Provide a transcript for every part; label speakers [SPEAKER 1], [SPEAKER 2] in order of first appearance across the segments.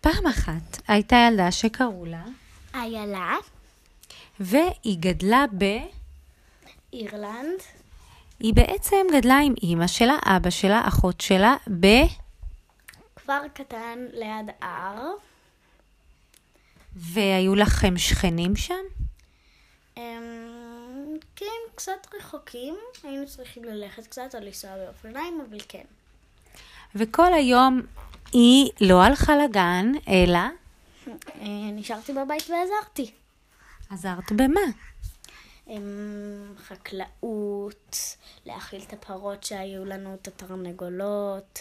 [SPEAKER 1] פעם אחת הייתה ילדה שקראו לה,
[SPEAKER 2] איילה,
[SPEAKER 1] והיא גדלה ב...
[SPEAKER 2] אירלנד,
[SPEAKER 1] היא בעצם גדלה עם אימא שלה, אבא שלה, אחות שלה, ב...
[SPEAKER 2] כפר קטן ליד הר.
[SPEAKER 1] והיו לכם שכנים שם?
[SPEAKER 2] אמ, כן, קצת רחוקים, היינו צריכים ללכת קצת או לנסוע באופניים, אבל כן.
[SPEAKER 1] וכל היום היא לא הלכה לגן, אלא
[SPEAKER 2] אה, נשארתי בבית ועזרתי.
[SPEAKER 1] עזרת במה?
[SPEAKER 2] אמ, חקלאות, להאכיל את הפרות שהיו לנו, את התרנגולות,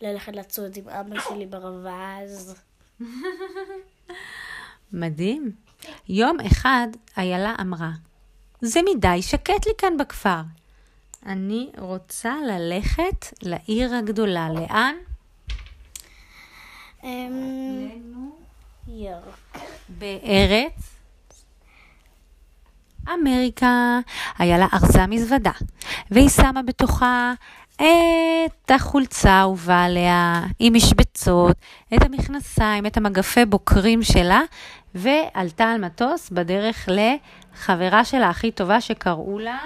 [SPEAKER 2] ללכת לצוד עם אבא שלי ברווז.
[SPEAKER 1] מדהים. יום אחד איילה אמרה, זה מדי שקט לי כאן בכפר. אני רוצה ללכת לעיר הגדולה. לאן?
[SPEAKER 2] אמ, ירק.
[SPEAKER 1] בארץ אמריקה היה לה ארזה מזוודה, והיא שמה בתוכה את החולצה האהובה עליה, עם משבצות, את המכנסיים, את המגפי בוקרים שלה, ועלתה על מטוס בדרך לחברה שלה הכי טובה שקראו לה...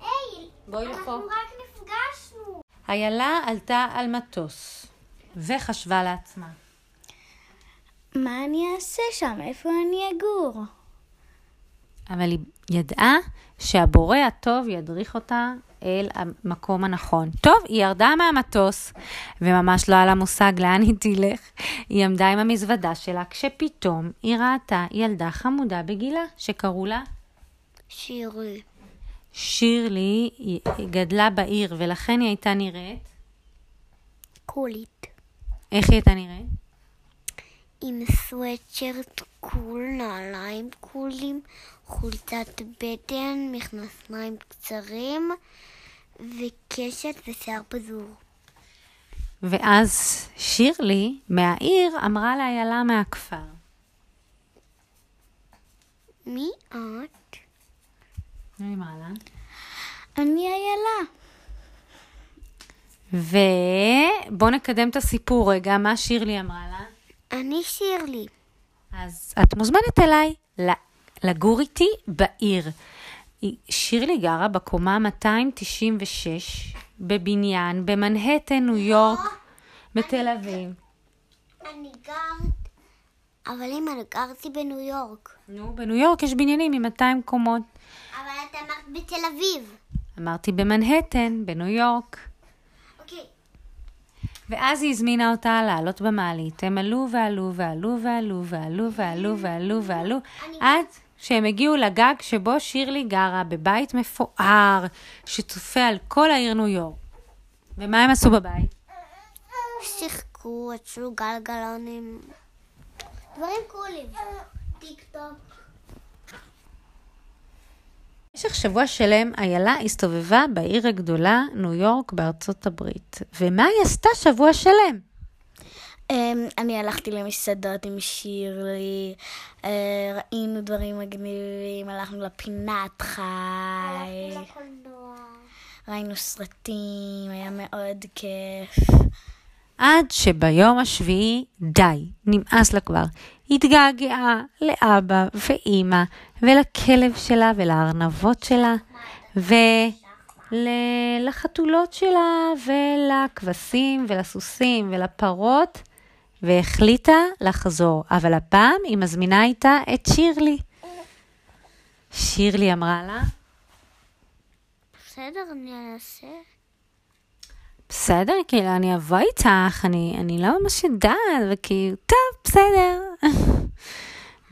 [SPEAKER 3] היי,
[SPEAKER 1] בואי לפה.
[SPEAKER 3] אנחנו רק נפגשנו.
[SPEAKER 1] איילה עלתה על מטוס, וחשבה לעצמה.
[SPEAKER 2] מה אני אעשה שם? איפה אני אגור?
[SPEAKER 1] אבל היא ידעה שהבורא הטוב ידריך אותה אל המקום הנכון. טוב, היא ירדה מהמטוס, וממש לא היה לה מושג לאן היא תלך. היא עמדה עם המזוודה שלה, כשפתאום היא ראתה ילדה חמודה בגילה, שקראו לה
[SPEAKER 3] שירי.
[SPEAKER 1] שירלי, היא היא גדלה בעיר, ולכן היא הייתה נראית...
[SPEAKER 3] קולית.
[SPEAKER 1] איך היא הייתה נראית?
[SPEAKER 3] עם סוואטשרט קול, נעליים קולים, חולצת בטן, מכנסיים קצרים, וקשת ושיער פזור.
[SPEAKER 1] ואז שירלי, מהעיר, אמרה לאיילה מהכפר.
[SPEAKER 3] מי את?
[SPEAKER 1] היא אמרה לה.
[SPEAKER 2] אני איילה.
[SPEAKER 1] ובואו נקדם את הסיפור רגע, מה שירלי אמרה לה?
[SPEAKER 3] אני שירלי.
[SPEAKER 1] אז את מוזמנת אליי ל- לגור איתי בעיר. היא- שירלי גרה בקומה 296 בבניין במנהטן, ניו יורק, בתל אביב.
[SPEAKER 3] אני גרת... אבל אימא, גרתי בניו יורק.
[SPEAKER 1] נו, בניו יורק יש בניינים עם 200 קומות.
[SPEAKER 3] אבל את אמרת בתל אביב.
[SPEAKER 1] אמרתי במנהטן, בניו יורק.
[SPEAKER 3] אוקיי.
[SPEAKER 1] ואז היא הזמינה אותה לעלות במעלית. הם עלו ועלו ועלו ועלו ועלו ועלו ועלו ועלו, עד שהם הגיעו לגג שבו שירלי גרה, בבית מפואר, שצופה על כל העיר ניו יורק. ומה הם עשו בבית?
[SPEAKER 3] שיחקו, עצרו גלגלונים. דברים קולים. טיק טוק.
[SPEAKER 1] במשך שבוע שלם איילה הסתובבה בעיר הגדולה, ניו יורק בארצות הברית. ומה היא עשתה שבוע שלם?
[SPEAKER 2] אמ, אני הלכתי למסעדות עם שירלי, אה, ראינו דברים מגניבים, הלכנו לפינת חי, ראינו סרטים, היה מאוד כיף.
[SPEAKER 1] עד שביום השביעי, די, נמאס לה כבר. התגעגעה לאבא ואימא ולכלב שלה ולארנבות שלה ולחתולות שלה ולכבשים ולסוסים ולפרות והחליטה לחזור, אבל הפעם היא מזמינה איתה את שירלי. שירלי אמרה לה,
[SPEAKER 3] בסדר, אני אנסה.
[SPEAKER 1] בסדר, כאילו, אני אבוא איתך, אני, אני לא ממש יודעת, וכאילו, טוב, בסדר.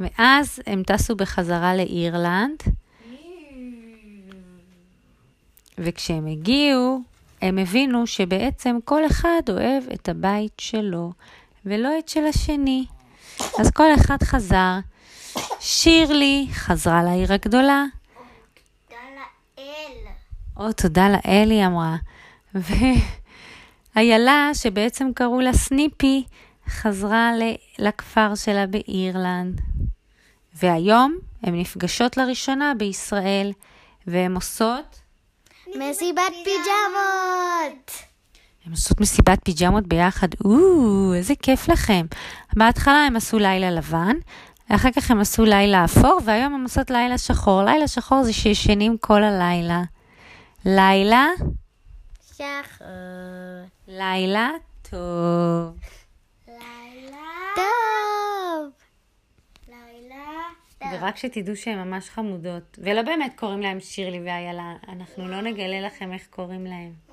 [SPEAKER 1] ואז הם טסו בחזרה לאירלנד, וכשהם הגיעו, הם הבינו שבעצם כל אחד אוהב את הבית שלו, ולא את של השני. אז כל אחד חזר. שירלי חזרה לעיר הגדולה,
[SPEAKER 3] תודה לאל.
[SPEAKER 1] או, תודה לאל, היא אמרה. ואיילה, שבעצם קראו לה סניפי, חזרה ל- לכפר שלה באירלנד. והיום הן נפגשות לראשונה בישראל, והן עושות...
[SPEAKER 2] מסיבת פיג'מות!
[SPEAKER 1] הם עושות מסיבת פיג'מות ביחד, או, איזה כיף לכם. בהתחלה הם עשו לילה לבן, אחר כך הם עשו לילה אפור, והיום הם עושות לילה שחור. לילה שחור זה שישנים כל הלילה. לילה,
[SPEAKER 2] שחור.
[SPEAKER 1] לילה, טוב.
[SPEAKER 3] לילה
[SPEAKER 2] טוב.
[SPEAKER 3] לילה
[SPEAKER 1] ורק שתדעו שהן ממש חמודות. ולא באמת קוראים להן שירלי ואיילה, אנחנו לא נגלה לכם איך קוראים להן.